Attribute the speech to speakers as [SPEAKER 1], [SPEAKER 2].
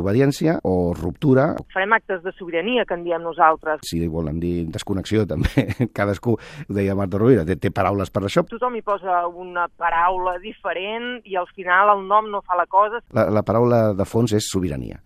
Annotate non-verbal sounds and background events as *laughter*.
[SPEAKER 1] desobediència o ruptura.
[SPEAKER 2] Farem actes de sobirania, que en diem nosaltres.
[SPEAKER 1] Si volen dir desconnexió, també, *laughs* cadascú, ho deia Marta Rovira, té, té paraules per això.
[SPEAKER 2] Tothom hi posa una paraula diferent i al final el nom no fa la cosa.
[SPEAKER 1] La, la paraula de fons és sobirania.